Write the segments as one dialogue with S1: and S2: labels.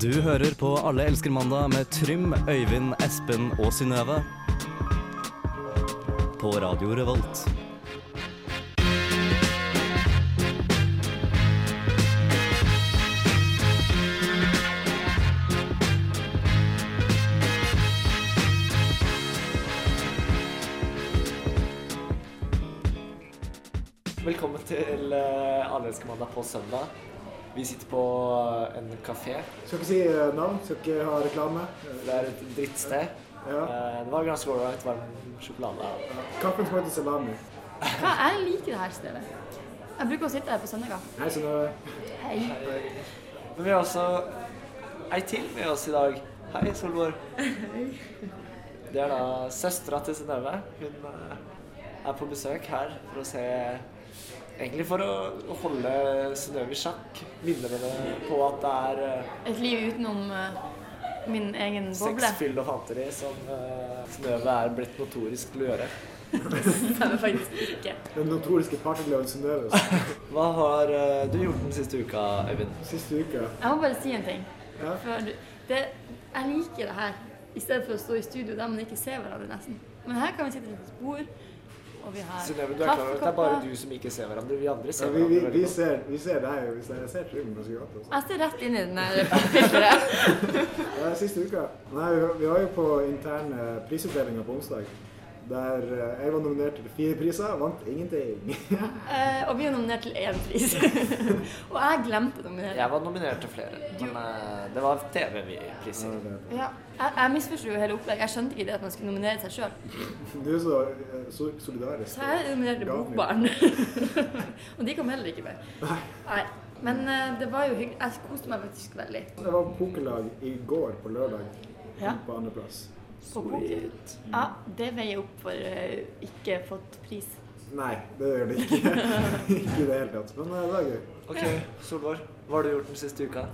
S1: Du hører på Alle elsker mandag med Trym, Øyvind, Espen og Synnøve. På Radio Revolt.
S2: Velkommen til uh, Alle elsker mandag på søndag. Vi sitter på eh, en kafé.
S3: Skal ikke si eh, navn, skal ikke ha reklame.
S2: Det er et drittsted.
S3: Ja.
S2: Eh, det var ganske ålreit varm sjokolade.
S3: Kaffen som heter salami.
S4: Ja, jeg liker det her stedet. Jeg bruker å sitte her på søndager.
S3: Hei, Synnøve.
S4: Hei.
S2: Men vi har også ei til med oss i dag. Hei, Solvor. Det er da søstera til Synnøve. Hun eh, er på besøk her for å se Egentlig for å å holde Synnøve i sjakk. Minne henne på at det er eh,
S4: Et liv utenom eh, min egen boble.
S2: sex, fyll og fanteri som uh, Synnøve er blitt notorisk til å gjøre.
S4: Det er det faktisk ikke.
S3: Den notoriske partygløden Synnøve.
S2: Hva har eh, du gjort den siste uka, Øyvind?
S3: Siste uka.
S4: Jeg må bare si en ting.
S3: Ja.
S4: For du- det, jeg liker det her, i stedet for å stå i studio der man ikke ser hverandre nesten. Men her kan vi sitte rundt et bord, og vi har
S2: Synnøve, du er klar over at det er bare
S4: kaffekopper.
S2: du som ikke ser hverandre. Vi andre
S3: Ja,
S2: ser
S3: vi, vi,
S2: hverandre
S3: vi,
S2: veldig godt.
S3: ser, vi ser deg, og vi ser, jeg ser Trym ganske godt. altså. Også.
S4: Jeg ser rett inn i den der filteret.
S3: Ja, siste uka. Nei, vi, var- vi var jo på interne prisutdelinger på onsdag. Der eh, jeg var nominert til fire priser, vant ingenting.
S4: Eh, og vi er nominert til én pris. og jeg glemte å nominere.
S2: Jeg var nominert til flere, men eh, det var TV-priser.
S4: Ja. Jeg, jeg misforsto jo hele opplegget. Jeg skjønte ikke det at man skulle nominere seg sjøl.
S3: Du er så, eh, så solidarisk.
S4: Så jeg nominerte
S3: Ja,
S4: Bokbarn. og de kom heller ikke med. Nei. Men eh, det var jo hyggelig. Jeg koste meg faktisk veldig.
S3: Jeg var på pokerlag i går på lørdag
S4: Ja.
S3: på andreplass.
S4: På poker. Ja, det veier opp for eh, ikke fått pris.
S3: Nei, det gjør det ikke. ikke i det hele tatt. Men eh, det var gøy.
S2: Ok, Solvor, hva har du gjort den siste uka?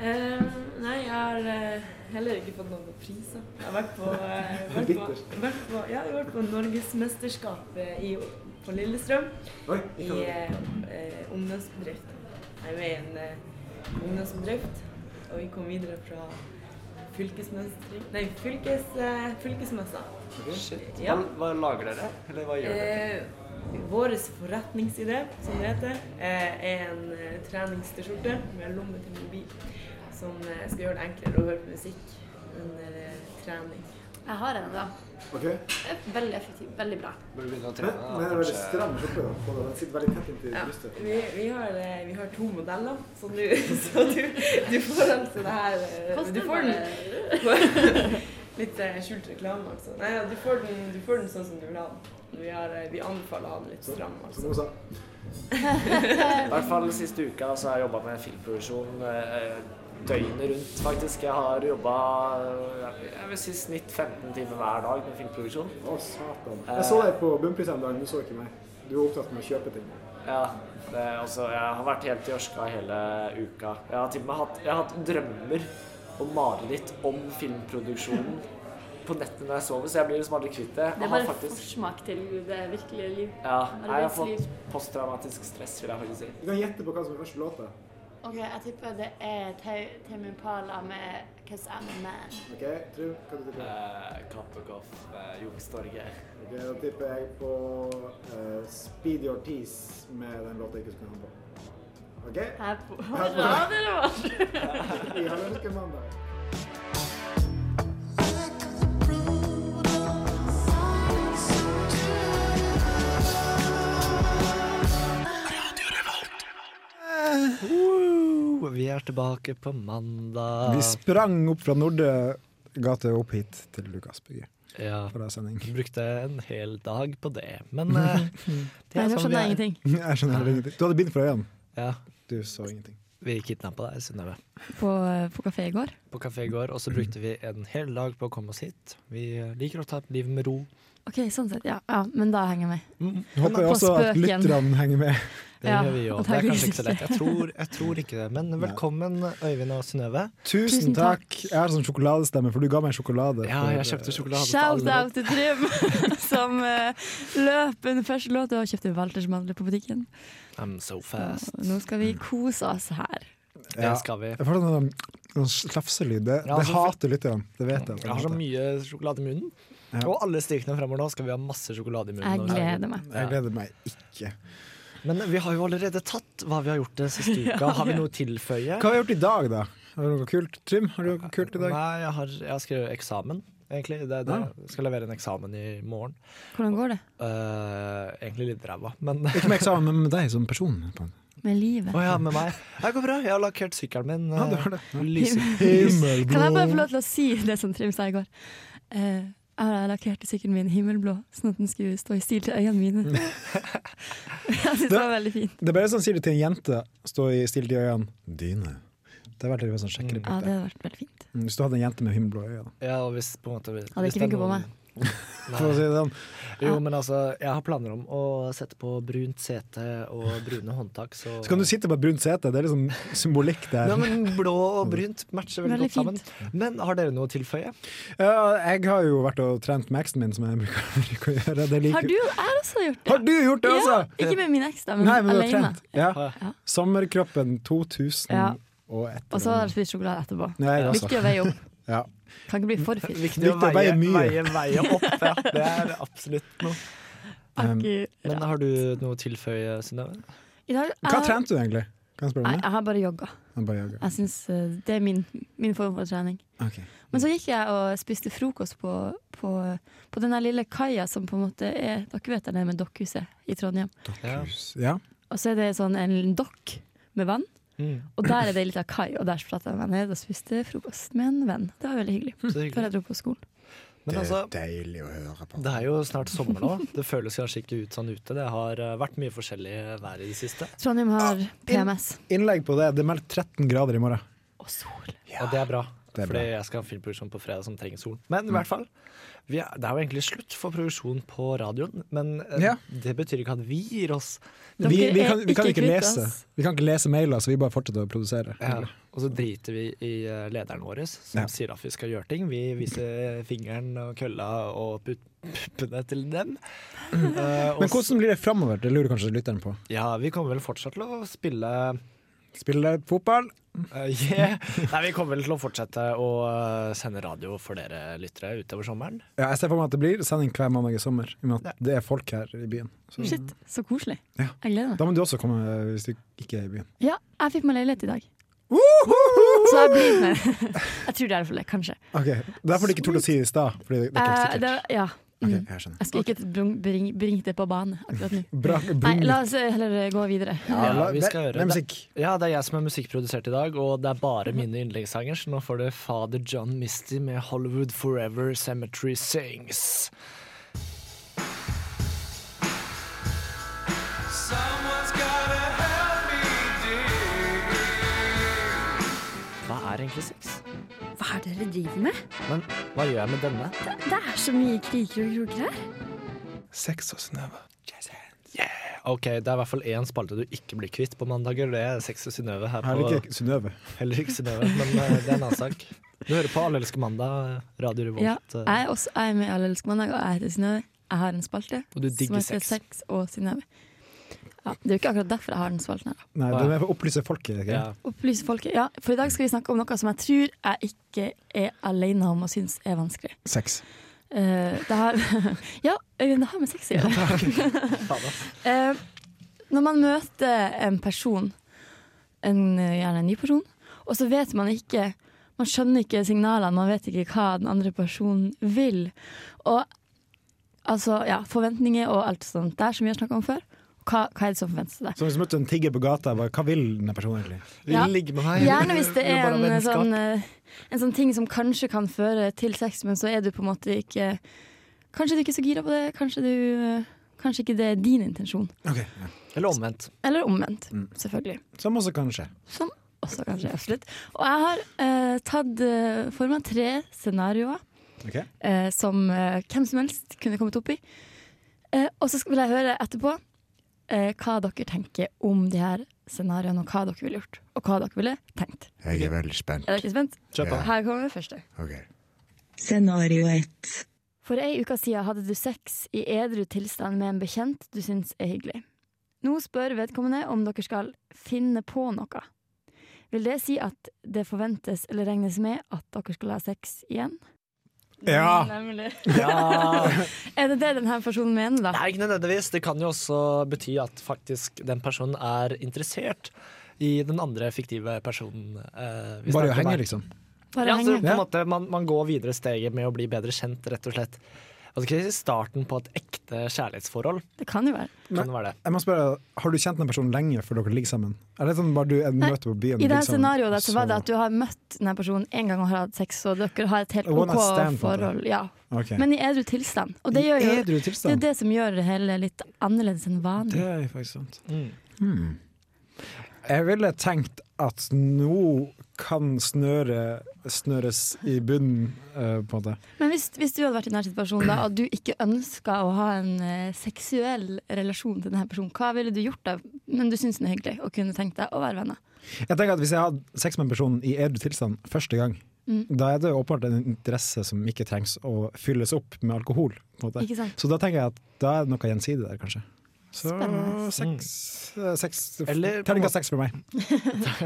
S5: Eh, nei, jeg har eh, heller ikke fått noen priser. Jeg har vært på, eh, vært
S3: Bittert.
S5: på, vært på, ja, jeg har vært på norgesmesterskapet i- på Lillestrøm
S3: Oi,
S5: i
S3: ikke noe.
S5: eh, eh, ungdomsbedrift. Jeg er med i en eh, ungdomsbedrift, og vi kom videre fra fylkesmestring Nei, fylkes, eh, fylkesmessa.
S2: Shit. Hva,
S5: Ja.
S2: hva lager dere? Eller hva gjør dere?
S5: Eh, Vår forretningsidé, som det heter, eh, er en eh, treningst-skjorte med lomme til mobil, som eh, skal gjøre det enklere å høre på musikk under eh, trening.
S4: Jeg har en, da.
S3: Ok.
S4: Det er Veldig effektiv. Veldig bra.
S2: Bør du begynne å
S3: Men,
S2: trene? da,
S3: men det er veldig
S2: kanskje?
S3: stram skjorte. da, på det. Den sitter veldig tett inntil
S5: Ja,
S3: brystet.
S5: vi, vi, har, eh, vi har to modeller, så du, så du, du får altså det her eh, Du
S4: Koster
S5: får den
S4: bare-
S5: litt eh, skjult reklame, altså. Nei, ja, du får den, du får den sånn som du vil ha den. Vi, har, eh, vi anbefaler å ha den litt stram.
S3: Som
S5: altså.
S3: hun sa.
S2: I hvert fall siste uka så har jeg jobba med filmproduksjon eh, døgnet rundt, faktisk. Jeg har jobba jeg vil si snitt 15 timer hver dag med filmproduksjon.
S3: Å, satan.
S6: Eh.
S3: Jeg så deg på Bunnpris en dag, men du så ikke meg. Du var opptatt med å kjøpe ting.
S2: Ja. Det, er altså, jeg har vært helt jorska hele uka. Jeg har til og med hatt, jeg har hatt drømmer og mareritt om filmproduksjonen på nettet når jeg sover, så jeg blir liksom aldri kvitt det.
S4: Det
S2: Jeg
S4: er
S2: har
S4: bare
S2: faktisk,
S4: forsmak til det virkelige liv.
S2: ja, jeg har
S4: arbeidsliv.
S2: fått posttraumatisk stress, vil jeg faktisk si.
S3: Du kan gjette på hva som er første låta.
S4: OK, jeg tipper det er Tame Impala med 'Cause I'm a Man'.
S3: Ok, Trym, hva du tipper
S2: Eh, Katt og Goff, eh, Youngstorget.
S3: Ok, Da tipper jeg på eh, Speed Your Tees med den låta jeg ikke skulle ha på. OK?
S4: Her på radioen.
S3: Vi har ønsket mandag.
S7: Oh, Vi er tilbake på mandag.
S6: Vi sprang opp fra Nordre gate opp hit til Lukas bygge
S7: ja,
S6: for en sending.
S7: brukte en hel dag på det, men eh, det er
S4: Jeg
S7: sånn vi
S4: skjønner
S7: er.
S4: ingenting.
S6: Jeg skjønner heller ingenting. Du hadde bind for øynene.
S7: Ja,
S6: Du så ingenting.
S7: vi kidnappa deg, Synnøve,
S4: På, på kafé i går.
S7: på kafé i går, og så brukte vi en hel dag på å komme oss hit. Vi eh, liker å ta et liv med ro.
S4: Ok, sånn sett, ja. ja men da henger jeg med.
S6: Jeg håper
S4: på
S6: også at
S4: spøken.
S6: lytterne henger med.
S7: Det
S4: Ja,
S7: gjør vi jo. Det er kanskje ikke så lett. Jeg tror, jeg tror ikke det. Men velkommen, Øyvind og Synnøve.
S6: Tusen
S4: Tusen takk.
S6: takk. Jeg har sånn sjokoladestemme, for du ga meg sjokolade.
S7: Ja,
S6: for-
S7: jeg kjøpte sjokolade til alle.
S4: Shout-out til Trym, som eh, løp under første låt og kjøpte Walters mandler på butikken.
S7: I'm so
S4: Og
S7: fast.
S4: nå skal vi kose oss her.
S7: Det skal vi.
S6: Jeg får sånn
S3: Sånn slafselyd. Det,
S2: Ja,
S3: det
S2: altså, for-
S3: hater lytterne. Det vet jeg. at de
S2: Jeg har så
S3: hater.
S2: mye sjokolade i munnen.
S3: Ja.
S2: Og alle strikene fremover nå skal vi ha masse sjokolade i munnen.
S4: Jeg gleder meg.
S3: Jeg gleder meg ikke.
S2: Men vi har jo allerede tatt hva vi har gjort det siste uka. Har vi noe å tilføye?
S3: Hva har vi gjort i dag, da? Har du noe kult? Trym, har du noe kult i dag?
S2: Nei, jeg har, jeg har skrevet eksamen, egentlig. Det, det.
S3: Ja.
S2: Jeg skal levere en eksamen i morgen.
S4: Hvordan går det
S2: Eh, egentlig litt ræva, men Å
S3: Ikke med eksamen, men med deg som person. på en-
S4: med livet?
S2: ja, med meg. Det går bra. Jeg har lakkert sykkelen min.
S3: Ja, du har det.
S2: eh, lyse-
S4: Kan jeg bare få lov til å si det som Trym sa i går? Eh, jeg har lakkert sykkelen min himmelblå, sånn at den skulle stå i stil til øynene mine. jeg synes det var veldig fint.
S3: Det er bare sånn sier du til en jente, stå i stille til øynene dine. Det har vært litt sånn sjekkere
S4: Ja,
S3: på det.
S4: det hadde vært veldig fint.
S3: Mm, Hvis du hadde en jente med himmelblå øyne. da.
S2: Eh, Ja, og hvis på en måte hvis
S4: Hadde ikke
S2: det er
S4: funket på
S2: noen-
S3: For å si det sånn.
S2: Jo, men altså, jeg har planer om å sette på brunt sete og brune håndtak, så
S3: Så kan du sitte på et brunt sete, det er liksom symbolikk der.
S2: Ja, men Blå og brunt matcher veldig, godt
S4: Veldig
S2: sammen. Men har dere noe å tilføye?
S3: Ja, jeg har jo vært og trent med eksen min, som jeg bruker, bruker å gjøre. Det liker.
S4: Har du jeg har også gjort det?
S3: Har du gjort det, altså?
S4: Ja, ikke med min eks, da, men,
S3: Nei, men du har
S4: alene.
S3: trent. Ja.
S4: Ja.
S3: Sommerkroppen 2000
S4: Ja.
S3: og et
S4: Og så har jeg spist sjokolade etterpå.
S3: Nei, altså.
S4: Viktig å veie opp.
S3: Ja.
S4: Kan ikke bli for fylt.
S2: Viktig å
S3: Viktig å
S2: veie,
S3: veie mye.
S2: veie, veie opp, ja. Det er absolutt noe.
S3: Um,
S2: Men
S4: Akkurat.
S2: har du noe å tilføye, Synnøve?
S4: I dag
S3: uh, Hva
S4: jeg-
S3: trente du egentlig? Kan jeg spørre
S4: Nei,
S3: om det?
S4: jeg har bare jogga.
S3: Jeg bare jogger.
S4: Jeg synes, eh, Det er min, min form for trening.
S3: Ok.
S4: Men så gikk jeg og spiste frokost på, på, på den der lille kaia som på en måte er Dere vet der nede med dokkhuset i Trondheim.
S2: Ja.
S3: Hus. Ja.
S4: Og så er det sånn en dokk med vann,
S2: Mm.
S4: og der er det ei lita kai. Og der spratt jeg meg ned og spiste frokost med en venn. Det var veldig hyggelig.
S2: Så hyggelig.
S4: Før jeg dro på skolen.
S2: Men altså,
S3: deilig å høre på.
S2: det er jo snart sommer nå. Det føles kanskje ikke ut sånn ute. Det har eh, vært mye forskjellig vær i det siste.
S4: Trondheim har
S3: Ah,
S4: PMS
S3: Innlegg på det. Det er meldt 13 grader i morgen.
S4: og sol.
S2: Og det er bra,
S3: Det er Mm.
S2: fordi jeg skal ha en filmproduksjon på fredag som trenger solen. Men i hvert fall, vi er, det er jo egentlig slutt for produksjon på radioen, men eh,
S3: Ja.
S2: det betyr ikke at vi gir oss.
S4: Dere
S3: Vi, vi, kan,
S4: er
S3: vi kan ikke
S4: kvitt
S3: lese
S4: oss.
S3: Vi kan ikke lese mailer, så vi bare fortsetter å produsere.
S2: Og så driter vi i eh, lederen vår, som
S3: Ja.
S2: sier at vi skal gjøre ting. Vi viser fingeren og kølla og put- puppene til dem. Eh, og
S3: Men hvordan blir det framover? Det lurer kanskje lytteren på.
S2: s- ja, vi kommer vel fortsatt til å spille
S3: Spiller fotball?
S2: eh, yeah. Nei, vi kommer vel til å fortsette å eh, sende radio for dere lyttere utover sommeren.
S3: Ja, jeg ser for meg at det blir sending hver mandag i sommer, i og med at det er folk her i byen. Så,
S4: Shit, så koselig.
S3: Ja.
S4: Jeg gleder meg.
S3: da må du også komme eh, hvis du ikke er i byen.
S4: Ja, jeg fikk meg leilighet i dag. Så jeg blir med. Jeg tror det er derfor det, kanskje.
S3: Ok, Derfor du ikke torde å si det i stad. Fordi det, det er ikke
S4: Eh,
S3: helt
S4: det,
S3: sikkert.
S4: ja.
S3: Ok,
S4: Mm.
S3: jeg skjønner.
S4: Jeg skulle ikke bring- bring- bringe det på banen akkurat nå.
S3: Bra, bra,
S4: Nei, la oss eh, heller eh, gå videre.
S2: Ja,
S3: la-
S2: vi
S3: det-
S2: skal gjøre
S3: Det
S2: det.
S3: er musikk.
S2: Ja, det er jeg som er musikkprodusert i dag, og det er
S8: Mhm.
S2: bare mine yndlingssanger, så nå får du Father John Misty med Hollywood Forever Cemetery Sings. Hva er egentlig sex?
S8: Hva er det dere driver med?
S2: Men hva gjør jeg med denne?
S8: Det er så mye kriker og kroker her.
S2: Sex og Synnøve. Yeah. OK, det er i hvert fall én spalte du ikke blir kvitt på mandager. Det er Sex og Synnøve her på
S3: Heller ikke Synnøve.
S2: Heller ikke Synnøve, men eh, det er en annen sak. Du hører på Allelske mandag, Radio Revolt.
S4: Ja,
S2: eh,
S4: jeg er også jeg er med i Allelsk mandag, og jeg heter Synnøve. Jeg har en spalte
S2: Og du digger
S4: som heter
S2: sex.
S4: Sex og Synnøve. Ja, det er jo ikke akkurat derfor jeg har den spalten. her da.
S3: Nei, det er med for å opplyse folket. Ikke?
S2: ja.
S4: Opplyse folket. Ja, For i dag skal vi snakke om noe som jeg tror jeg ikke er alene om og syns er vanskelig.
S3: Sex.
S4: Eh, det har Ja, Øyvind, det har med sex å gjøre.
S2: Faen, ass.
S4: Eh, når man møter en person, en, eh, gjerne en ny person, og så vet man ikke Man skjønner ikke signalene, man vet ikke hva den andre personen vil. Og altså, ja, forventninger og alt sånt der som vi har snakka om før. Hva, hva er det som forventes av deg?
S3: Så hvis du møtte en tigger på gata, bare, hva vil denne personen egentlig?
S2: Vil
S4: Ja.
S2: du ligge med meg?
S4: Gjerne hvis det
S2: Vil du
S4: er
S2: bare ha
S4: en
S2: vennskap?
S4: sånn, eh, en sånn ting som kanskje kan føre til sex, men så er du på en måte ikke Kanskje du ikke er så gira på det, kanskje, du, eh, kanskje ikke det er din intensjon.
S3: Ok, ja.
S2: Eller omvendt.
S4: Eller omvendt, selvfølgelig.
S3: Som også kan skje.
S4: Som også kanskje er slutt. Og jeg har eh, tatt eh, for meg tre scenarioer
S3: Ok?
S4: eh, som eh, hvem som helst kunne kommet opp i. Eh, og så skal- vil jeg høre etterpå eh, hva dere tenker om de her scenarioene, og hva dere ville gjort. Og hva dere ville tenkt.
S3: Jeg er veldig spent.
S4: Er dere spent?
S2: Kjør på.
S4: Her kommer det første.
S8: Scenario 1.
S4: For ei uke siden hadde du sex i edru tilstand med en bekjent du syns er hyggelig. Nå spør vedkommende om dere skal finne på noe. Vil det si at det forventes eller regnes med at dere skal ha sex igjen?
S3: Ja.
S4: Nemlig.
S2: Ja.
S4: Er det det denne personen mener, da?
S2: Nei, ikke nødvendigvis. Det kan jo også bety at faktisk den personen er interessert i den andre fiktive personen. eh, vi
S3: Bare
S2: snakker om
S3: å
S2: her.
S3: henge, liksom.
S4: Bare
S2: Ja, altså- så
S4: henger.
S2: på en måte, man, man går videre steget med å bli bedre kjent, rett og slett. Altså ikke starten på et ekte kjærlighetsforhold,
S4: Det kan jo være.
S2: kan
S3: Men-
S2: det være det.
S3: Jeg må spørre, Har du kjent den personen lenge før dere ligger sammen? Er det sånn bare du en
S4: Nei,
S3: møter på byen?
S4: I
S3: ligger
S4: dette
S3: sammen,
S4: scenarioet der, så
S3: og
S4: var det at du har møtt denne personen én gang og har hatt sex, og dere har et helt
S3: A one
S4: OK
S3: night stand, på en måte.
S4: forhold. Ja.
S3: Ok.
S4: Men i edru tilstand. Og det, gjør jo,
S3: I edru
S4: det er jo
S3: tilstand?
S4: det som gjør det hele litt annerledes enn vanlig.
S3: Det er jo faktisk sant.
S2: Mm.
S3: Hmm. Jeg ville tenkt at nå kan snøret snøres i bunnen, eh, på en måte.
S4: Men hvis, hvis du hadde vært i denne situasjonen da, og du ikke ønska å ha en eh, seksuell relasjon til denne personen, hva ville du gjort da? Men du syns den er hyggelig og kunne tenkt deg å være venner.
S3: Jeg tenker at Hvis jeg hadde sex med en person i edru tilstand første gang,
S4: Mm.
S3: da er det åpenbart en interesse som ikke trengs å fylles opp med alkohol. På en måte.
S4: Ikke sant?
S3: Så da tenker jeg at da er det noe gjensidig der, kanskje. Så
S4: Spennende.
S3: sex, eh, sex
S2: Eller-
S3: Terningkast seks for meg.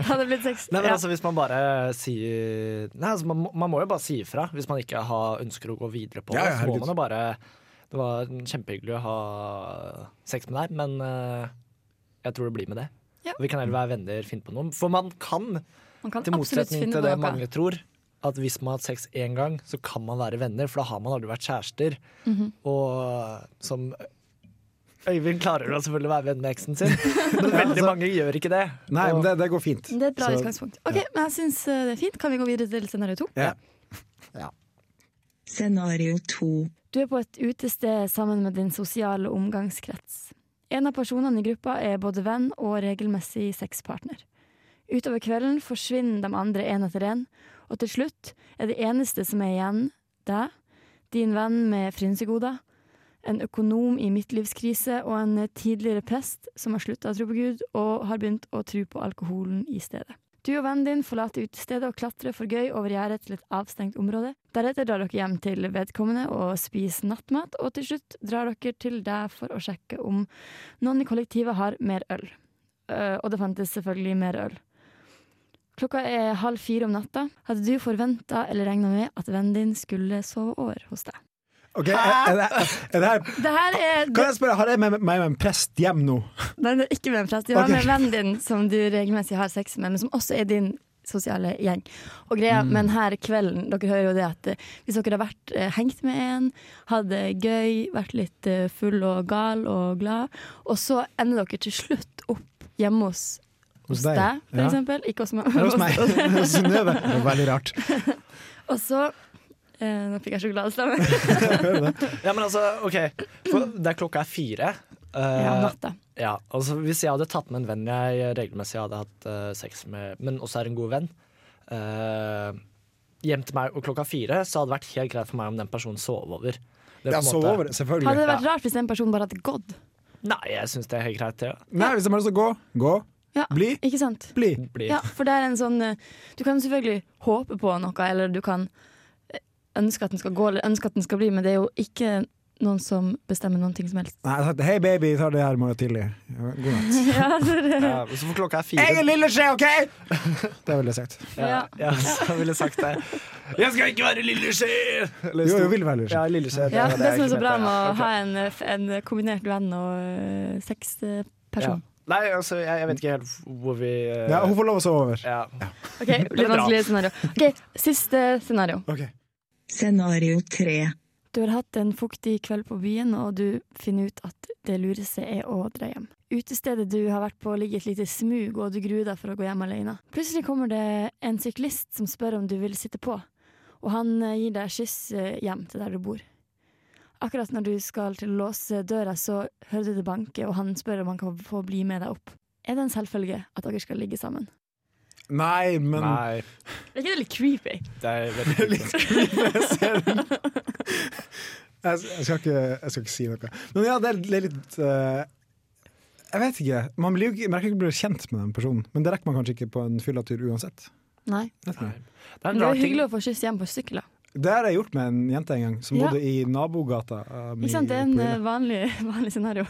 S4: Hadde det blitt sex?
S2: Nei, men
S4: Ja.
S2: altså Hvis man bare sier Nei, altså man, må- man må jo bare si ifra hvis man ikke har, ønsker å gå videre på det.
S3: Ja, ja,
S2: så må
S3: herregud.
S2: man jo bare Det var kjempehyggelig å ha sex med deg, men eh, jeg tror det blir med det.
S4: Ja.
S2: Vi kan heller være venner, finne på noe. For man kan,
S4: Man kan
S2: til
S4: absolutt
S2: motsetning
S4: finne
S2: til
S4: på
S2: det
S4: noe.
S2: mange tror, at hvis man har hatt sex én gang, så kan man være venner, for da har man aldri vært kjærester.
S4: Mhm.
S2: Og eh, som Øyvind klarer jo selvfølgelig å være venn med eksen sin, men veldig mange gjør ikke det.
S3: altså Nei,
S2: Og-
S3: men det, det går fint.
S4: Det er et bra
S3: Så-
S4: utgangspunkt. Ok, men jeg synes eh, det er fint. Kan vi gå videre til scenario to?
S3: Ja.
S8: Scenario 2.
S4: Du er på et utested sammen med din sosiale omgangskrets. En av personene i gruppa er både venn og regelmessig sexpartner. Utover kvelden forsvinner de andre én etter én, og til slutt er det eneste som er igjen, deg, din venn med frynsegoder, en økonom i midtlivskrise og en tidligere prest som har slutta å tro på Gud og har begynt å tro på alkoholen i stedet. Du og vennen din forlater utestedet og klatrer for gøy over gjerdet til et avstengt område. Deretter drar dere hjem til vedkommende og spiser nattmat, og til slutt drar dere til deg for å sjekke om noen i kollektivet har mer øl. Eh, og det fantes selvfølgelig mer øl. Klokka er halv fire om natta. Hadde du forventa eller regna med at vennen din skulle sove over hos deg?
S3: Ok, er, er, det, er det her
S4: Det her er
S3: Kan jeg spørre, Har jeg med meg med en prest hjem nå?
S4: Nei, det er ikke med en prest. Du har
S3: Ok.
S4: med vennen din som du regelmessig har sex med, men som også er din sosiale gjeng. Og greia
S3: Mm.
S4: med denne kvelden, dere hører jo det at eh, hvis dere har vært eh, hengt med en, hatt det gøy, vært litt eh, full og gal og glad, og så ender dere til slutt opp hjemme hos
S3: Hos
S4: hos
S3: deg,
S4: deg, for
S3: ja.
S4: eksempel. Ikke hos meg.
S3: Eller hos meg? Hos Synnøve? Det er Veldig rart.
S4: Og så eh, Nå fikk jeg sjokoladestamme.
S2: Ja, men altså, ok For Der klokka er fire eh,
S4: Ja, om natta.
S2: ja, altså Hvis jeg hadde tatt med en venn jeg regelmessig hadde hatt eh, sex med Men også er en god venn eh, Hjem til meg og klokka fire Så hadde det vært helt greit for meg om den personen sov over Det er på
S3: Jeg
S2: en
S3: sov
S2: måte-
S3: over,
S4: Hadde
S3: selvfølgelig.
S4: det vært rart hvis den personen bare hadde gått?
S2: Nei, jeg synes det er helt greit ja.
S3: Nei, hvis de har lyst til å gå, gå.
S4: Ja,
S3: Bli.
S4: Ikke sant?
S3: Bli.
S2: Blir-
S4: Ja, for det er en sånn eh, Du kan selvfølgelig håpe på noe, eller du kan eh, ønske at den skal gå, eller ønske at den skal bli, men det er jo ikke noen som bestemmer noen ting som helst.
S3: Nei, jeg sa hei baby, vi tar det her i morgen tidlig. Ja, God natt.
S2: ja, Så for klokka er fire
S3: lille skje, OK?! Det er veldig sagt.
S2: ja, ja, så ville jeg sagt det Jeg skal ikke være lille skje Eller
S3: Jo,
S2: stor-
S3: jo, vil være lille skje.
S2: Ja, lille skje
S4: Ja, det, som er så
S2: ikke
S4: bra
S2: bedre,
S4: med å
S2: ja. Ok.
S4: ha en, eh, f- en kombinert venn og eh, sexperson.
S2: Ja. Nei, altså, jeg, jeg vet ikke helt hvor vi eh,
S3: Ja, hun får lov å sove over.
S2: ja.
S4: OK, litt
S2: bra.
S4: vanskelig scenario. Ok, Siste scenario.
S3: Ok.
S8: Scenario 3.
S4: Du har hatt en fuktig kveld på byen, og du finner ut at det lureste er å dra hjem. Utestedet du har vært på ligger i et lite smug, og du gruer deg for å gå hjem alene. Plutselig kommer det en syklist som spør om du vil sitte på, og han eh, gir deg kyss eh, hjem til der du bor. Akkurat når du skal til å låse døra, så hører du det banke, og han spør om han kan få bli med deg opp. Er det en selvfølge at dere skal ligge sammen?
S3: Nei, men
S2: Nei,
S4: Er ikke det litt creepy?
S2: det er veldig litt
S3: jeg, jeg, skal ikke, jeg skal ikke si noe. Men ja, det er det er litt eh, Jeg vet ikke. Man blir jo ikke, merker ikke å bli kjent med den personen, men det rekker man kanskje ikke på en fyllatur uansett.
S4: Nei.
S3: Vet ikke.
S2: Det er
S4: Men
S2: en rar
S4: det er jo
S2: ting.
S4: hyggelig å få kyss hjem på sykkel. da.
S3: Det har jeg gjort med en jente en gang, som
S4: Ja.
S3: bodde i nabogata. eh, mi
S4: Ikke sant? Det er en
S3: på Ila.
S4: eh, vanlig, vanlig scenario.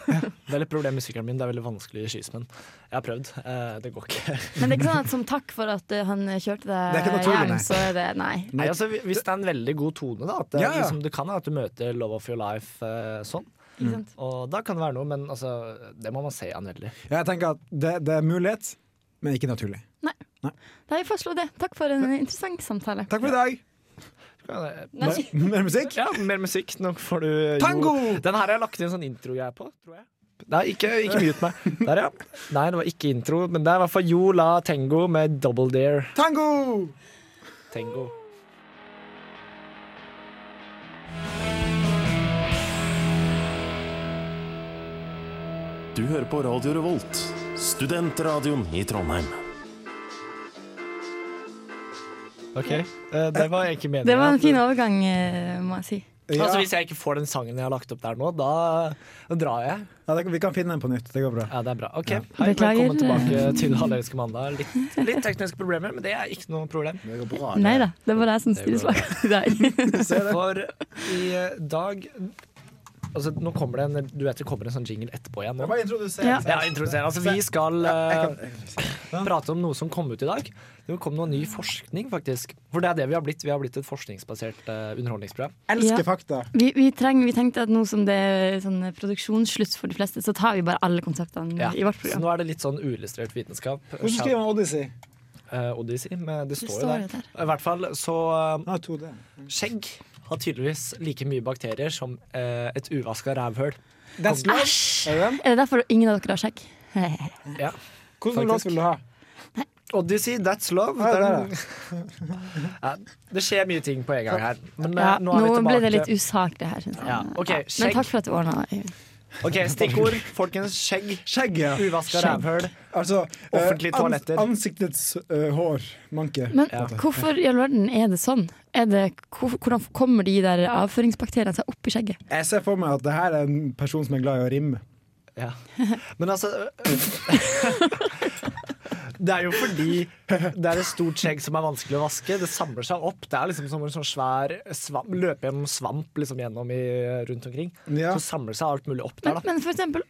S2: Det er litt problem med sykkelen min. Det er veldig vanskelig i skismenn. Jeg har prøvd. Eh, det går ikke.
S4: Men det er ikke sånn at som takk for at eh, han kjørte
S3: Det er
S4: deg
S3: ikke naturlig,
S4: hjem,
S3: nei.
S4: så er det Nei.
S2: Nei, altså, hvi- hvis det er en veldig god tone, da. At det,
S3: Ja, ja.
S2: Liksom, du kan at du møter love of your life eh, sånn.
S4: Ikke sant?
S2: Og da kan det være noe, men altså, det må man se an veldig.
S3: Ja, jeg tenker at det, det er mulighet, men ikke naturlig.
S4: Da har vi fastslått det. Takk for en interessant samtale.
S3: Takk for i dag!
S4: Nei.
S3: Mer musikk?
S2: Ja, mer musikk. Nå får du jo-
S3: Tango!
S2: Den her har jeg lagt inn en sånn intro jeg er på, tror jeg. Nei, ikke, ikke mute meg. Der, ja. Nei, det var ikke intro, men det er i hvert fall Jo La Tengo med Double Dare
S3: Tango!
S2: Tengo.
S9: Du hører på Radio Revolt, studentradioen i Trondheim.
S2: OK. eh, Det var egentlig meningen.
S4: Det var
S2: at-
S4: en fin overgang, eh, må jeg si.
S3: Ja,
S2: Altså, hvis jeg ikke får den sangen jeg har lagt opp der nå, da, da drar jeg.
S3: ja, det, vi kan finne den på nytt. Det går bra.
S2: Ja, det er bra. OK.
S3: Ja.
S2: Hei,
S4: Beklager.
S2: velkommen tilbake til Hallelske mandag. Litt, litt tekniske problemer, men det er ikke noe problem.
S4: Nei da, det var jeg som stilte spørsmål i dag.
S2: For i eh, dag Altså, nå kommer det en Du vet det kommer en sånn jingle etterpå igjen nå?
S3: introdusere.
S4: Ja.
S2: Ja, introdusere. Altså, vi skal eh, prate om noe som kom ut i dag. Det kom noe ny forskning, faktisk. For det er det vi har blitt. Vi har blitt et forskningsbasert eh, underholdningsprogram.
S4: Ja.
S3: Elsker fakta.
S4: Vi, vi, trenger, vi tenkte at nå som det er sånn produksjonsslutt for de fleste, så tar vi bare alle konseptene
S2: Ja.
S4: Mm, i vårt
S2: Så
S4: program.
S2: nå er det litt sånn uillustrert vitenskap.
S3: Hvordan skriver man Odyssey?
S2: Eh, Odyssey, men det
S4: Det
S2: står jo
S4: står
S2: der.
S4: jo der.
S2: I hvert fall så eh,
S3: Ah, 2D.
S2: Skjegg har tydeligvis like mye bakterier som eh, et uvaska rævhøl.
S3: That's love. Er det den?
S4: Er det derfor ingen av dere har skjegg? Nei,
S2: Ja. Faktisk.
S3: Hvordan låt vil du ha?
S2: Odyssey, that's love.
S3: Ah, der,
S2: Den- ja, det skjer mye ting på en gang her. Men
S4: Ja,
S2: eh,
S4: nå
S2: nå er vi
S4: ble
S2: tilbake.
S4: det litt usaklig her, syns jeg.
S2: Ja, ok, skjegg.
S4: Men takk for at du ordna.
S2: OK, stikkord. Folkens, skjegg.
S3: Skjegg, ja.
S2: Uvaska rævhøl.
S3: Altså eh,
S2: Offentlige toaletter.
S3: ans ansiktets eh, hår manke.
S4: Men
S2: Ja.
S4: hvorfor i all verden er det sånn? Er det, hvor, hvordan kommer de der avføringsbakteriene seg opp i skjegget?
S3: Jeg ser for meg at det her er en person som er glad i å rimme.
S2: Ja. Men altså Det er jo fordi det er et stort skjegg som er vanskelig å vaske. Det samler seg opp. Det er liksom som en sånn svær svamp, løper gjennom svamp liksom gjennom i, rundt omkring.
S3: Ja.
S2: Så samler seg alt mulig opp der,
S4: Men,
S2: da.
S4: men for, eksempel,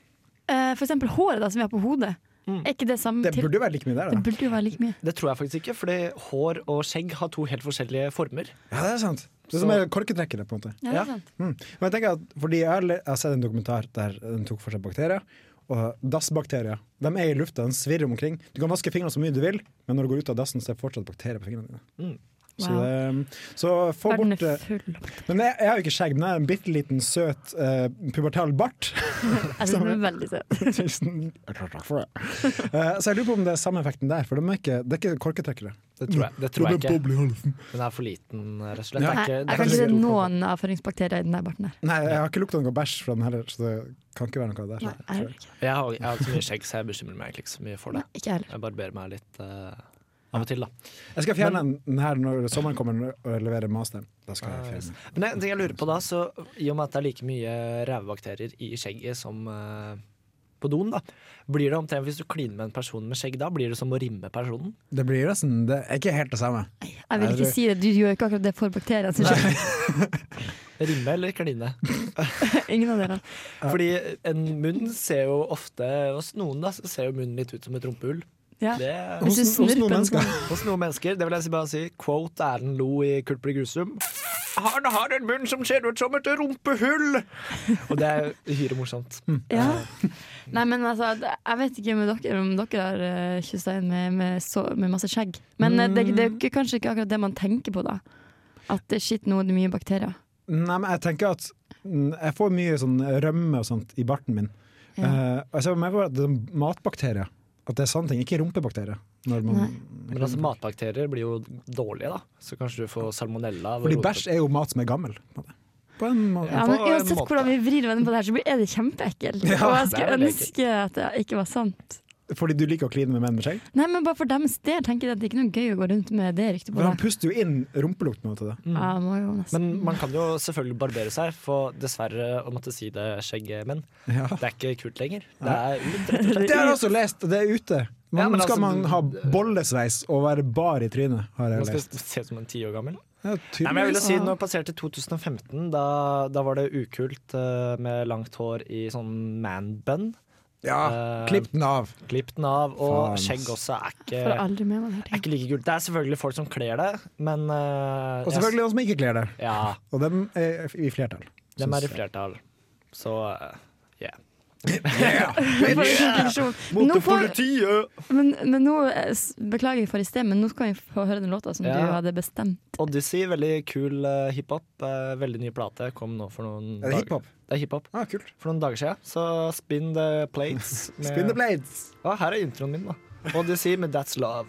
S4: eh, for eksempel håret da, som vi har på hodet. Er ikke det samme
S3: Mm. Det
S4: til
S3: burde jo være like mye der,
S4: Det
S3: da.
S4: burde jo være like mye.
S2: Det tror jeg faktisk ikke, fordi hår og skjegg har to helt forskjellige former.
S3: Ja, det er sant. Det er som er korketrekkere, på en måte.
S4: Ja, det
S2: Ja.
S4: er sant.
S3: Mm. Men jeg tenker at fordi jeg har, le- jeg har sett en dokumentar der den tok for seg bakterier. Og dassbakterier. De er i lufta, de svirrer omkring. Du kan vaske fingrene så mye du vil, men når du går ut av dassen, så er det fortsatt bakterier på fingrene dine. Så,
S4: Wow.
S3: det, um, så få
S4: Verden
S3: bort
S4: er
S3: eh,
S4: full.
S3: Men jeg, jeg har jo ikke skjegg, men jeg har en bitte liten søt eh, pubertal bart.
S4: Jeg synes den er veldig søt.
S3: Tusen takk for det. Eh, så jeg lurer på om det er samme effekten der, for de er ikke, det er ikke korketrekkere.
S2: Det tror jeg, det tror jeg ikke.
S3: boble i halsen.
S2: Den er for liten, rett og slett. Det
S4: Nei,
S2: er ikke,
S4: jeg
S2: det
S4: kan
S2: er
S4: ikke se
S2: stor
S4: noen avføringsbakterier i den der barten der.
S3: Nei, jeg har ikke lukta noe bæsj fra den heller, så det kan ikke være noe der.
S4: Nei, jeg
S3: tror
S4: heller
S3: jeg.
S4: ikke.
S2: på- Jeg har, jeg har ikke så mye skjegg, så jeg bekymrer meg ikke så mye for det.
S4: Nei, ikke jeg heller.
S2: Jeg barberer meg litt eh, av og til, da.
S3: Jeg skal fjerne den her når sommeren kommer og jeg leverer masteren. Da skal jeg fjerne den.
S2: Men en ting jeg lurer på da, så I og med at det er like mye rævebakterier i skjegget som eh, på doen, da Blir det omtrent hvis du kliner med en person med skjegg da, blir det som å rimme personen?
S3: Det blir nesten det er ikke helt det samme.
S4: Jeg vil ikke
S3: Eller-
S4: si det. Du gjør ikke akkurat det for bakteriene. som skjer.
S2: Rimme eller kline?
S4: Ingen av delene.
S2: Fordi en munn ser jo ofte Hos noen da, så ser jo munnen litt ut som et rumpehull.
S4: Ja.
S2: Det,
S4: Hvis du
S3: Hos- hos
S4: snurper
S3: noen
S4: den
S3: mennesker.
S4: sånn.
S2: hos noen mennesker, det vil jeg si bare si, quote Erlend Lo i Kulper i Grusum Han har en munn som ser ut som et rumpehull! Og det er uhyre morsomt.
S4: Ja.
S2: Eh.
S4: Nei, men altså, det- jeg vet ikke med dere, om dere har eh, kysset inn med, med, så, med masse skjegg. Men eh, det, det er jo ikke- kanskje ikke akkurat det man tenker på da. At eh, shit, nå er det mye bakterier.
S3: Nei, men jeg tenker at mm, jeg får mye sånn rømme og sånt i barten min.
S4: Ja.
S3: Eh, og jeg ser for meg bare at det er matbakterier. At det er sånne ting, ikke rumpebakterier. Når man,
S2: Men altså, matbakterier blir jo dårlige, da. Så kanskje du får salmonella.
S3: fordi bæsj er jo mat som er gammel. på en måte. På en måte.
S4: Ja,
S2: på
S4: men
S2: en
S4: uansett
S2: måte.
S4: hvordan vi vrir og vender på det her, så blir- er det kjempeekkelt.
S3: Ja,
S4: Og jeg
S2: det
S4: skulle
S2: er veldig ekkelt.
S4: ønske at det ikke var sant.
S3: Fordi du liker å kline med menn med skjegg.
S4: Nei, men bare for deres del tenker jeg at det er ikke noe gøy å gå rundt med det ryktet på
S3: For han
S4: deg.
S3: puster jo inn rumpelukt. på en måte, da.
S4: Ja, må jo nesten.
S2: Men man kan jo selvfølgelig barbere seg, for dessverre å måtte si det, skjeggmenn.
S3: Ja.
S2: Det er ikke kult lenger. Det er ut, rett og slett.
S3: Det har jeg også lest, og det er ute. Man,
S2: Ja, men
S3: skal
S2: altså-
S3: man ha bollesveis og være bar i trynet, har jeg
S2: Man
S3: lest.
S2: skal se ut som en ti år gammel.
S3: Ja,
S2: Nei, men jeg ville
S3: tydeligvis.
S2: si Når jeg passerte 2015, da, da var det ukult eh, med langt hår i sånn man-bun.
S3: Ja,
S2: Eh,
S3: Ah, klipp den av.
S2: Klipp den av, og
S3: Faen, ass.
S2: skjegg også er ikke,
S4: Får aldri med meg det
S2: er
S4: her.
S2: ikke like kult. Det er selvfølgelig folk som kler det, men eh,
S3: Og selvfølgelig noen som ikke kler det.
S2: jeg- Ja,
S3: Og dem er i flertall.
S2: dem er i
S3: Synes jeg.
S2: flertall. Så eh,
S4: For en konklusjon. Men nå får- Men, men nå, eh, s- beklager jeg for i sted, men nå skal vi få høre den låta som
S2: Ja.
S4: du hadde bestemt.
S2: Odyssey, veldig kul eh, hiphop. eh, veldig ny plate. Kom nå for noen
S3: Er det
S2: dager-
S3: hiphop?
S2: Det er hiphop.
S3: Ah, kult.
S2: For noen dager siden. Så spin the plates. med-
S3: Spin the blades.
S2: Ja, her er introen min, da. Odyssey med That's Love.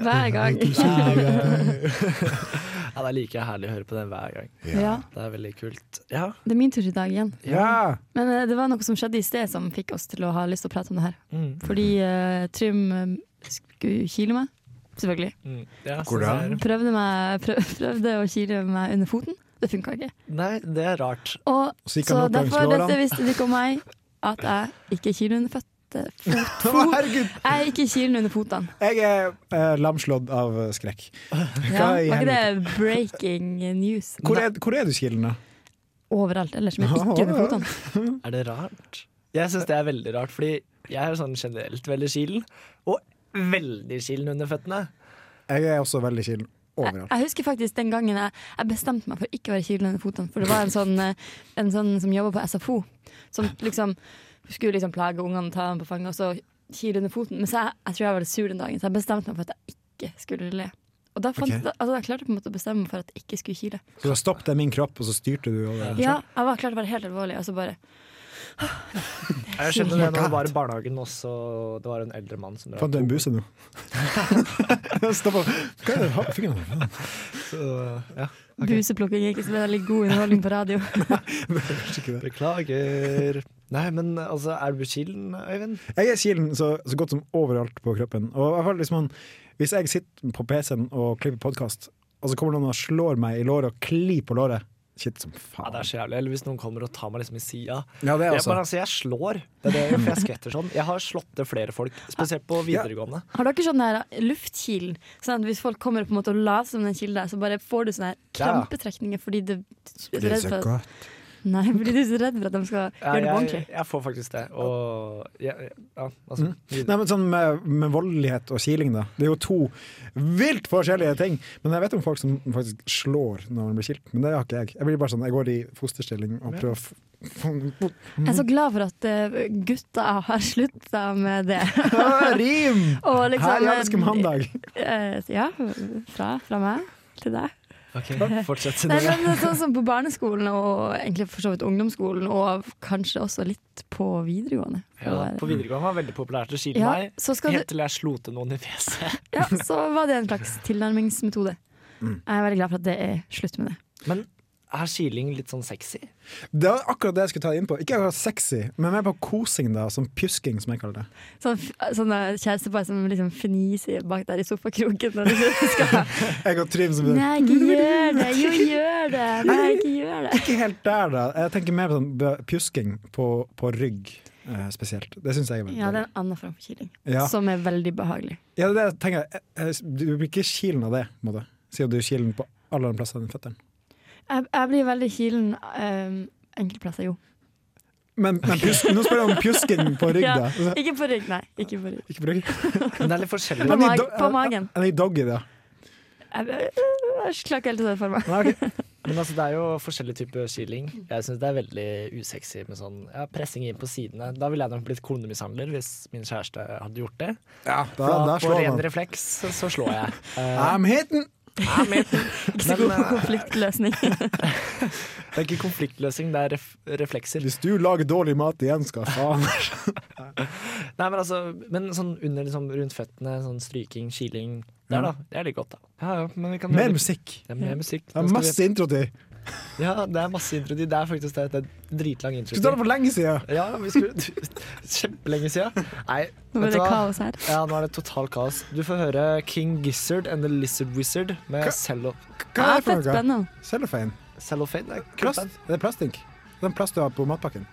S4: Hver gang.
S2: Ja, Det er like herlig å høre på den hver gang.
S4: Ja.
S2: Det er veldig kult. Ja,
S4: Det er min tur i dag igjen.
S3: Ja!
S4: Men eh, det var noe som skjedde i sted som fikk oss til å ha lyst til å prate om det her.
S2: Mm.
S4: Fordi eh, Trym eh, skulle kile meg, selvfølgelig.
S2: mm. ja så
S3: Hvordan?
S2: det
S4: Prøvde, meg, prøv, prøvde å kile meg under foten. Det funka ikke.
S2: er- Nei, det er rart.
S4: Og,
S3: Så
S4: så
S3: gikk han opp langs
S4: derfor
S3: lårene.
S4: dette visste de ikke om meg, at jeg ikke er kilen under føtte. Fot,
S3: Å,
S4: fot.
S3: herregud!
S4: Jeg er ikke kilen under fotene.
S3: Jeg er eh, lamslått av eh, skrekk.
S4: Ja,
S3: i
S4: var ikke det breaking news?
S3: Hvor er, hvor er du, Kilden? da?
S4: Overalt ellers, men ikke under fotene.
S2: Er det rart? Jeg syns det er veldig rart, fordi jeg er sånn generelt veldig kilen. Og veldig kilen under føttene.
S3: Jeg er også veldig Kilden.
S4: Jeg,
S3: Overalt.
S4: jeg husker faktisk den gangen jeg, jeg bestemte meg for ikke å være kilen under fotene. For det var en sånn, eh, en sånn som jobba på SFO, som liksom skulle liksom plage ungene, ta dem på fanget og så kile under foten. Men så jeg, jeg tror jeg var litt sur den dagen, så jeg bestemte meg for at jeg ikke skulle le. Og da, fant,
S3: Ok.
S4: da, altså, jeg klarte jeg på en måte å bestemme meg for at jeg ikke skulle kile.
S3: Så da stoppet jeg min kropp, og så styrte du over den.
S4: Ja, jeg var klar til å være helt alvorlig, og så bare
S2: Jeg skjønner det når det var i barnehagen også, og det var en eldre mann som
S3: Fant du en buse nå? Stoppa. Hva er det du har på fingrene?
S2: Så, ja.
S4: Buseplukking er ikke så veldig god underholdning på radio.
S3: Kanskje ikke det.
S2: Beklager. Nei, men altså, er du kilen, Øyvind?
S3: Jeg er Kilden så, så godt som overalt på kroppen. Og i hvert fall hvis, man, hvis jeg sitter på PC-en og klipper podkast, og så kommer noen og slår meg i låret og klir på låret Shit som
S2: Ja, det er
S3: faen.
S2: så jævlig. Eller hvis noen kommer og tar meg liksom i sida.
S3: Ja, det er
S2: Jeg, men
S3: også.
S2: altså, jeg slår. Det er det jeg gjør, for jeg skvetter sånn. Jeg har slått til flere folk, spesielt på videregående.
S4: Har dere sånn der luftkilen? Sånn at hvis folk kommer på en måte og later som den kilden, er, så bare får du sånne her
S2: Ja.
S4: krampetrekninger fordi du er
S3: Det er
S4: redd
S3: så
S4: for at,
S3: godt.
S4: Nei, fordi du er så redd for at de skal gjøre det på
S2: jeg,
S4: ordentlig.
S2: jeg får faktisk det. Og ja, ja altså videre.
S3: Nei, men sånn med, med voldelighet og kiling, da. Det er jo to vilt forskjellige ting. Men jeg vet om folk som faktisk slår når man blir kilt, men det har ikke jeg. Jeg blir bare sånn, jeg går i fosterstilling og prøver å f- f-
S4: Jeg er så glad for at eh, gutta har slutta med det.
S3: Ah, Rim!
S4: Og
S3: Her
S4: liksom
S3: i Elsker mandag.
S4: eh, Ja, fra, fra meg til deg.
S2: Ok, fortsett.
S4: Nei, men sånn som på barneskolen og egentlig for så vidt ungdomsskolen, og kanskje også litt på videregående. for
S2: Ja,
S4: å være-
S2: på videregående var det veldig populært å kile
S4: Ja,
S2: meg,
S4: så skal du-
S2: helt til jeg slo til noen i fjeset.
S4: Ja, så var det en slags tilnærmingsmetode.
S3: Mm.
S4: Jeg er veldig glad for at det er slutt med det.
S2: Men er kiling litt sånn sexy?
S3: Det var akkurat det jeg skulle ta inn på. Ikke akkurat sexy, men mer på kosing, da. Som pjusking, som jeg kaller det.
S4: Sånn, f- sånne kjærestepar som liksom fniser bak der i sofakroken. Når de skal,
S3: Jeg og Trym som
S4: Nei, ikke gjør det! Jo, gjør det! Nei, ikke gjør det!
S3: Ikke helt der, da. Jeg tenker mer på sånn b- pjusking på, på rygg. eh, spesielt. Det syns jeg er veldig
S4: Ja,
S3: dårlig.
S4: det er en annen form for kiling,
S3: Ja.
S4: som er veldig behagelig.
S3: Ja, det er det jeg tenker jeg. Eh, eh, Du blir ikke kilen av det, på en måte. Siden du er kilen på alle de plassene enn fetteren.
S4: Jeg, jeg blir veldig kilen ehm, enkelte plasser, jo.
S3: Men, men pjus, nå spør jeg om pjusking på rygg,
S4: Ja,
S3: da. Altså-
S4: ikke på rygg, nei. Ikke på rygg.
S3: Ikke på rygg.
S2: Men det er litt forskjellig.
S4: På,
S3: Men i
S4: mag
S3: do-
S4: på magen.
S3: Eller i doggy, da.
S4: Jeg, jeg, jeg klarer ikke helt å se det for meg.
S3: Nei, ok.
S2: Men altså, det er jo forskjellige typer kiling. Jeg syns det er veldig usexy med sånn ja, pressing inn på sidene. Da ville jeg nok blitt konemishandler hvis min kjæreste hadde gjort det.
S3: Ja, Ah, da,
S2: For da
S3: der
S2: på
S3: slår
S2: ren
S3: man.
S2: refleks så slår jeg. Eh,
S3: I'm hitting!
S4: Ikke så god
S3: eh,
S4: på konfliktløsning.
S2: det er ikke konfliktløsning, det er ref reflekser.
S3: Hvis du lager dårlig mat igjen, skal faen
S2: Nei, men altså Men sånn under liksom rundt føttene, sånn stryking, kiling Der, da. Det er litt godt, da. Ja, ja, men vi kan
S3: Mer musikk.
S2: Det er mer musikk.
S3: Det
S2: Nå
S3: er
S2: skal
S3: masse intro til.
S2: Vi, ja, det er masse intro. Det er faktisk det. Det er dritlang intro.
S3: Skulle ta det for lenge siden!
S2: Ja, vi skulle Kjempelenge siden. Nei, vet
S4: Nå blir
S2: du
S4: det
S2: hva?
S4: kaos her.
S2: Ja, nå er det total kaos. Du får høre King Gizzard and The Lizard Wizard med cello
S3: Hva
S4: Ja,
S3: er det
S4: fett
S3: for noe?
S4: spennende.
S3: Cellophane?
S2: cellophane. Det er kult,
S3: Plast?
S2: band.
S3: Er det plastink? Det er Den plast du har på matpakken?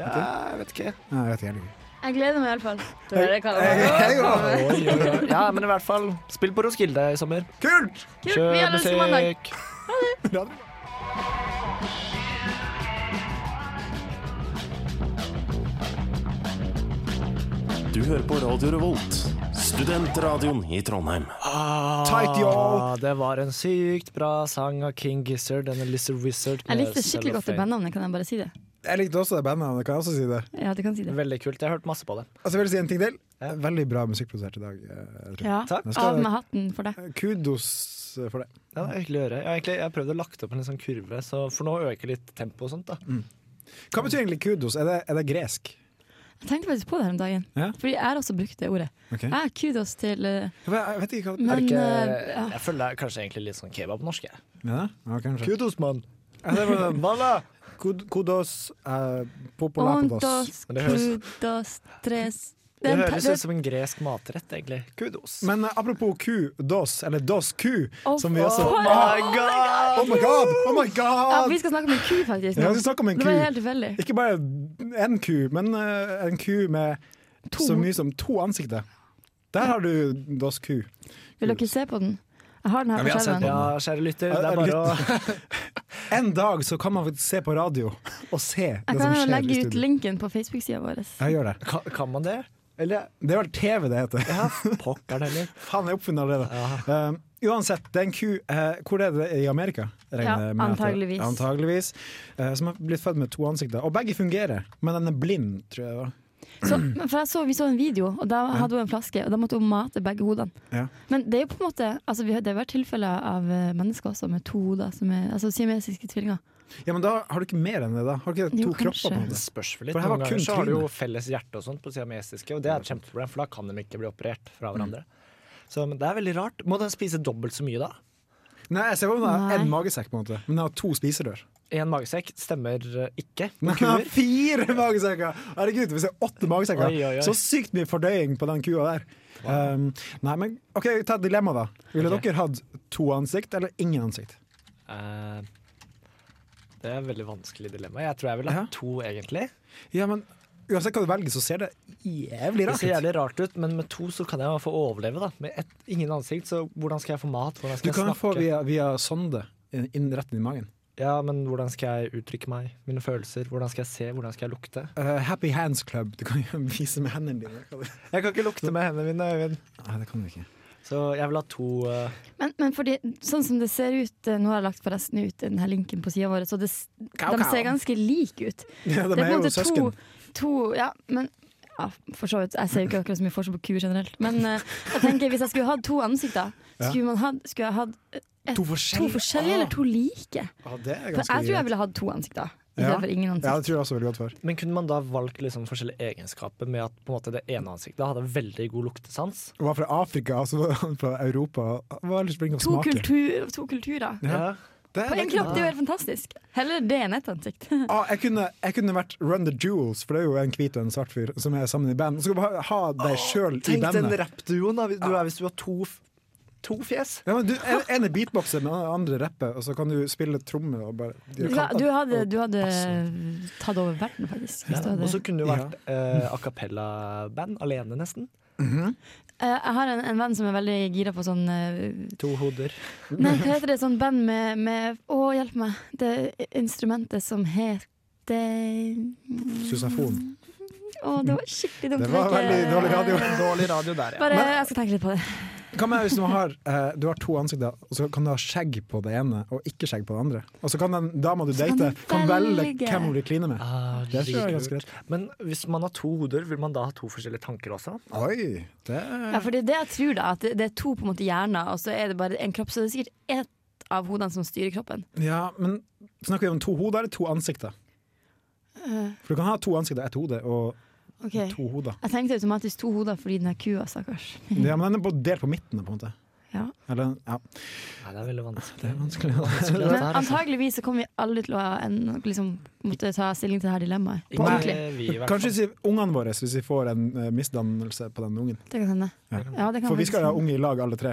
S2: Ja, jeg vet ikke.
S3: Nei, jeg vet ikke heller.
S4: Jeg gleder meg iallfall til å høre hva det
S3: Hei, hei, hei.
S4: var.
S2: Oi, oi, oi. Ja, men i hvert fall, spill på Roskilde i sommer.
S3: Kult!
S4: Kult, vi gjør det som mandag.
S9: Du hører på Radio Revolt, studentradioen i Trondheim.
S3: Tight, yo.
S2: Ah, det var en sykt bra sang av King Gizzard and The Lizard Wizard.
S4: Jeg
S2: med
S4: likte skikkelig godt det
S2: Cellophane.
S4: bandnavnet, kan jeg bare si det?
S3: Jeg likte også det bandnavnet, kan jeg også si det.
S4: Ja, du kan si det.
S2: Veldig kult. Jeg har hørt masse på det.
S3: Altså, jeg vil si en ting til. Veldig bra musikkprodusert i dag. eh, Trym.
S4: Ja,
S2: Takk.
S4: Av med hatten for det.
S3: Kudos for det.
S2: Ja, det er hyggelig å høre. Jeg har egentlig jeg har prøvd å lagt opp en litt sånn kurve, så for nå øker litt tempo og sånt. da.
S3: Hva betyr egentlig kudos? Er det, er det gresk?
S4: Jeg tenkte faktisk på det her om dagen,
S3: Ja.
S4: fordi jeg har også brukt det ordet.
S3: Ok.
S4: Ja, kudos til eh,
S3: Jeg vet- jeg vet ikke hva
S2: Er
S4: Men
S2: det ikke,
S4: eh, ja.
S2: jeg føler det er kanskje egentlig litt sånn kebab på norsk. jeg.
S3: ja, ja, kanskje.
S2: Kudos, mann!
S3: Ja, det var sånn, Balla! Kud- Kudos eh, popolapodos.
S4: Ontos,
S2: Men det høres-
S4: kudos, tres
S2: Det
S4: er en te-
S2: høres
S4: det-
S2: ut som en gresk matrett, egentlig. Kudos.
S3: Men eh, apropos ku, dos, eller dos ku,
S4: Oh,
S3: som vi også
S4: for-
S3: my god! Oh my god! Oh my
S4: Ja,
S3: god!
S4: vi skal snakke om en ku, faktisk.
S3: Ja,
S4: nå.
S3: vi skal snakke om en
S4: Det
S3: ku.
S4: var helt tilfeldig.
S3: Ikke bare én ku, men eh, en ku med
S4: To.
S3: så mye som to ansikter. Der har du dos ku.
S4: Vil dere se på den? Jeg har den her
S3: vi
S4: på
S3: har sett
S4: skjermen.
S2: Ja, kjære lytter,
S3: Ja,
S2: det er bare å
S3: En dag så kan man faktisk se på radio og se
S4: Jeg
S3: det
S4: kan
S3: som
S4: jo
S3: skjer i
S4: legge ut
S3: studio.
S4: linken på Facebook-sida vår.
S3: Ja, gjør det.
S2: kan, kan man det? Eller
S3: Det er vel TV det heter.
S2: ja, pokker det heller.
S3: Faen, jeg er oppfunnet allerede. Um, uansett, det er en ku eh, Hvor er det i Amerika? regner jeg med at det-
S4: antageligvis.
S3: antageligvis eh, som har blitt født med to ansikter. Og begge fungerer, men den er blind, tror jeg. det var.
S4: Så,
S3: Mm.
S4: men for jeg så, vi så en video, og da hadde hun en flaske, og da måtte hun mate begge hodene.
S3: Ja.
S4: Men det er jo på en måte altså, vi har- Det har vært tilfeller av eh, mennesker også med to hoder, som er altså, siamesiske tvillinger.
S3: Ja, men da har du ikke mer enn det, da? Har du ikke to
S4: Jo,
S3: kropper? på en
S4: kanskje.
S2: Det
S3: måte?
S2: spørs vel litt.
S3: For her var
S2: Noen
S3: kun
S2: ganger så har du
S3: trynet.
S2: jo felles hjerte og sånt på siamesiske, og det er et kjempeproblem, for da kan de ikke bli operert
S3: Mm.
S2: fra hverandre. Så men det er veldig rart. Må den spise dobbelt så mye da?
S3: Nei, jeg ser for meg
S4: Nei.
S3: en magesekk, på en måte. men den har to spiserør.
S2: Én magesekk stemmer eh, ikke.
S3: Den
S2: på
S3: har
S2: kuer.
S3: fire magesekker! Herregud, hvis det er åtte magesekker,
S2: Oi, oi, oi.
S3: så sykt mye fordøying på den kua der. Um, nei, men OK, ta et dilemma, da. Ville
S2: Ok.
S3: dere hatt to ansikt eller ingen ansikt?
S2: Eh, Det er et veldig vanskelig dilemma. Jeg tror jeg ville
S3: Ja.
S2: hatt to, egentlig.
S3: Ja, men uansett hva du velger, så ser det jævlig
S2: Det
S3: rart
S2: ser
S3: ut.
S2: jævlig rart ut, men med to så kan jeg få overleve. da Med ett, ingen ansikt, så hvordan skal jeg få mat? Hvordan skal
S3: Du kan
S2: jeg
S3: jo få
S2: snakke?
S3: via, via sonde inn, inn rett inn i magen.
S2: Ja, men hvordan skal jeg uttrykke meg? Mine følelser? Hvordan skal jeg se? Hvordan skal jeg lukte?
S3: Eh, happy Hands Club. Du kan jo vise med hendene dine. Hva det-
S2: Jeg kan ikke lukte med hendene mine, Øyvind.
S3: Nei, det kan du ikke.
S2: Så jeg vil ha to eh,
S4: Men, men fordi, sånn som det ser ut eh, Nå har jeg lagt forresten ut den her linken på sida vår, så det, s- de ser ganske like ut.
S3: Ja, de
S4: Det
S3: er
S4: på en
S3: jo
S4: måte
S3: søsken.
S4: To, to, ja, men ja, for så vidt. Jeg ser jo ikke akkurat så mye forskjell på kuer generelt. Men eh, jeg tenker hvis jeg skulle hatt to ansikter,
S3: Ja.
S4: skulle, man hatt, skulle jeg hatt eh, et-
S3: To Ah.
S4: to
S3: forskjellige.
S4: forskjellige eller to like?
S3: Ja, det er
S4: For
S3: ganske
S4: jeg tror jeg
S3: greit.
S4: ville hatt to ansikter. I
S3: Ja.
S4: stedet for ingen
S3: Ja,
S4: ansikt.
S3: det tror jeg også veldig godt for.
S2: Men kunne man da valgt liksom forskjellige egenskaper med at på en måte det ene ansiktet hadde veldig god luktesans?
S3: Hun var fra Afrika, og så var hun fra Europa. Hun var litt flink til å
S4: To,
S3: smake.
S4: kultur, to kulturer.
S3: Ja. Det,
S4: På
S3: det
S4: én
S3: kunne-
S4: kropp, det er jo helt fantastisk. Heller det enn ett ansikt.
S3: Ah, jeg, kunne, jeg kunne vært Run the Jewels, for det er jo en hvit og en svart fyr som er sammen i band. Så skal du ha, ha deg sjøl i
S2: Tenk den
S3: bandet.
S2: rappduoen da, hvis du, er- hvis du har to, f- to fjes.
S3: Ja, men du, en, en er beatboxer, men den andre rapper, og så kan du spille tromme og bare
S4: Du, ha- du hadde, du hadde tatt over verden, faktisk. Hvis du
S2: Og så
S4: hadde.
S2: kunne det jo vært eh, a cappella-band, alene nesten.
S4: Eh, Jeg har en, en venn som er veldig gira på sånn eh,
S2: To hoder.
S3: Mm.
S4: Nei, hva heter det? Sånn band med, med Å, hjelp meg. Det instrumentet som heter
S3: Susafon.
S4: Å, det var skikkelig dumt.
S3: Det var
S4: Jeg
S3: veldig
S4: ikke-
S3: dårlig radio.
S2: Dårlig radio der, ja.
S4: Bare, jeg skal tenke litt på det.
S3: Hva med hvis du har, eh, du har to ansikter, og så kan du ha skjegg på det ene og ikke skjegg på det andre? Og så kan den dama du
S4: kan
S3: dater,
S4: du
S3: kan velge
S4: velge.
S3: hvem hun vil kline med.
S2: Ah,
S3: Det tror jeg er ganske greit.
S2: Men hvis man har to hoder, vil man da ha to forskjellige tanker også?
S3: Oi, det
S4: Ja, for det er det jeg tror, da. At det, det er to på en måte hjerner, og så er det bare en kropp. Så det er sikkert ett av hodene som styrer kroppen.
S3: Ja, men snakker vi om to hoder eller to ansikter? For du kan ha to ansikter, ett hode og
S4: Eh. Ok.
S3: to hoder.
S4: Jeg tenkte automatisk to hoder fordi den her kua, stakkars.
S3: Ja, men den er på- delt på midten, på en måte.
S4: Ja.
S3: Eller, ja,
S2: Nei, det er veldig vanskelig.
S3: det er vanskelig.
S2: Det
S4: Men
S2: der, altså.
S4: antageligvis så kommer vi aldri til å en, liksom, måtte ta stilling til det her dilemmaet. På
S2: Ikke
S4: ordentlig.
S2: vi, i hvert
S3: Kanskje
S2: fall.
S3: si ungene våre, hvis vi får en eh, misdannelse på den ungen.
S4: Det kan hende.
S3: Ja.
S4: Ja, det kan
S3: For vi
S4: faktisk
S3: skal ha
S4: hende.
S3: unge i lag, alle tre.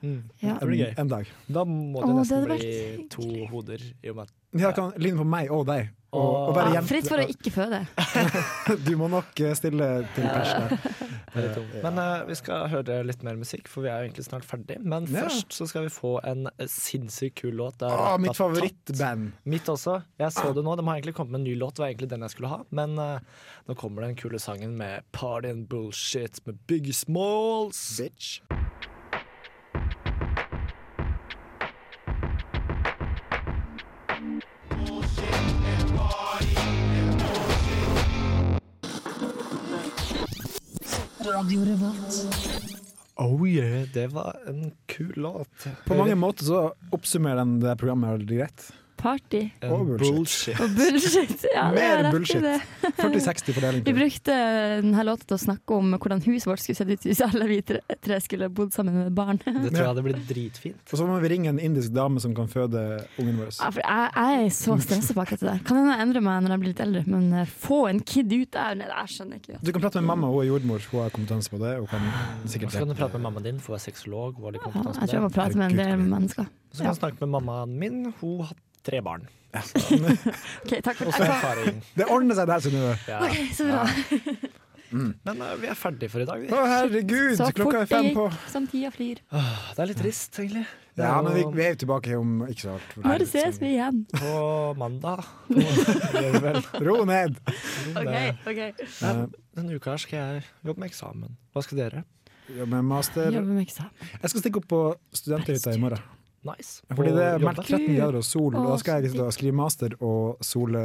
S4: Ja.
S3: En,
S2: Mm. blir gøy.
S3: en dag.
S2: Da må det
S4: Å,
S2: nesten
S4: det hadde
S2: bli
S4: vært
S2: to hoder. I og med at
S3: Ja, kan ligne på meg og deg. Og, og være
S4: Ja,
S3: jente.
S4: fritt for å ikke føde.
S3: Du må nok eh, stille til pers der.
S2: det er litt tungt. Men eh, vi skal høre litt mer musikk, for vi er jo egentlig snart ferdig. Men
S3: Ja.
S2: først så skal vi få en sinnssykt kul låt. Det er
S3: Å, mitt
S2: Ratatat.
S3: favorittband.
S2: Mitt også. Jeg så det nå. De har egentlig kommet med en ny låt. Det var egentlig den jeg skulle ha. Men eh, nå kommer den kule sangen med Party and Bullshit med Big Smalls.
S3: Bitch.
S2: Oh yeah, det var en kul låt.
S3: På mange måter så oppsummerer den det programmet veldig greit.
S4: Party
S2: En
S3: Og bullshit.
S4: og bullshit. Ja, det
S3: Mer
S4: er rett i
S3: bullshit.
S4: det.
S3: 40-60 fordeling.
S4: Vi brukte eh, denne låta til å snakke om hvordan huset vårt skulle sett ut hvis alle vi tre, tre skulle bodd sammen med barn.
S2: Det tror jeg hadde blitt dritfint.
S3: Og så må vi ringe en indisk dame som kan føde ungen vår.
S4: Ja, for jeg, jeg er så stressa på akkurat det der. Kan hende jeg endrer meg når jeg blir litt eldre, men eh, få en kid ut der nede, jeg skjønner ikke.
S3: Du kan prate med mamma, hun er jordmor, hun har kompetanse på det. Hun kan
S2: Og
S3: sikkert
S2: Så kan du prate med mammaen din, for hun er sexolog. Hun har litt
S4: Ja,
S2: kompetanse på
S4: jeg tror jeg må
S2: det.
S4: prate med en del mennesker.
S2: Så kan du snakke med mammaen min. Hun har tre barn.
S4: Ok, takk for
S2: Også
S4: det.
S2: erfaring.
S3: Det ordner seg der, Synnøve!
S2: Ja.
S4: Ok, så bra.
S2: Men eh, vi er ferdige for i dag, vi.
S3: Å, herregud,
S4: Så
S3: klokka er
S4: fort det
S3: fem på
S4: gikk som tida flyr.
S2: Det er litt trist, egentlig. Det er
S3: Ja, men vi,
S2: jo
S3: vi er jo tilbake om ikke så alt.
S4: Når ses vi igjen?
S2: På mandag.
S3: liksom. Ro ned! Eh,
S4: Ok, ok.
S2: Nei, Denne uka her skal jeg jobbe med eksamen. Hva skal dere?
S3: Jobbe med master.
S4: Jobber med eksamen.
S3: Jeg skal stikke opp på studenthytta i morgen.
S2: Nice.
S3: Fordi det er
S2: På
S3: meldt
S2: jobben?
S3: 13 grader og sol, og da
S4: Å,
S3: skal jeg liksom da skrive master og sole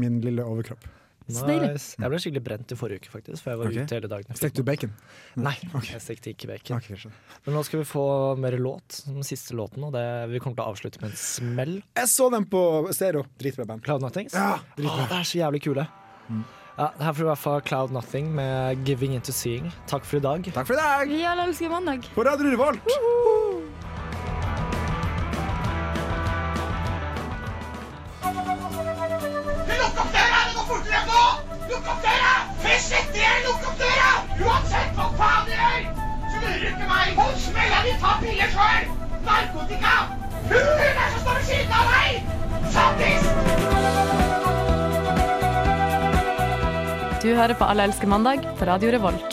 S3: min lille overkropp.
S4: Snedig.
S2: Nice. Jeg ble skikkelig brent i forrige uke, faktisk, for jeg var
S3: Ok.
S2: ute hele dagen.
S3: Stekte du bacon?
S2: Nei, jeg stekte ikke bacon.
S3: Ok, skjønner.
S2: Men nå skal vi få mer låt, som den siste låten, og det, vi kommer til å avslutte med en smell.
S3: Jeg så den på stereo. Dritbra band.
S2: Cloud Nothings.
S3: Ja,
S2: Åh,
S3: dritbra.
S2: det er så jævlig kule. Ja, her får du i hvert fall Cloud Nothing med 'Giving Into Seeing'. Takk for i dag.
S3: Takk for i dag!
S4: Vi alle elsker mandag.
S3: På Radio Revolt!
S10: Lukk opp døra! Det går fortere enn nå! Lukk opp døra! Først etter dere, lukk opp døra! Uansett hva faen dere gjør, så lurer du ikke meg. Hold smella di, ta piller sjøl! Narkotika! Hulen er som står ved siden av deg! Sattis!
S5: Du hører på Alle elsker mandag på Radio Revolt.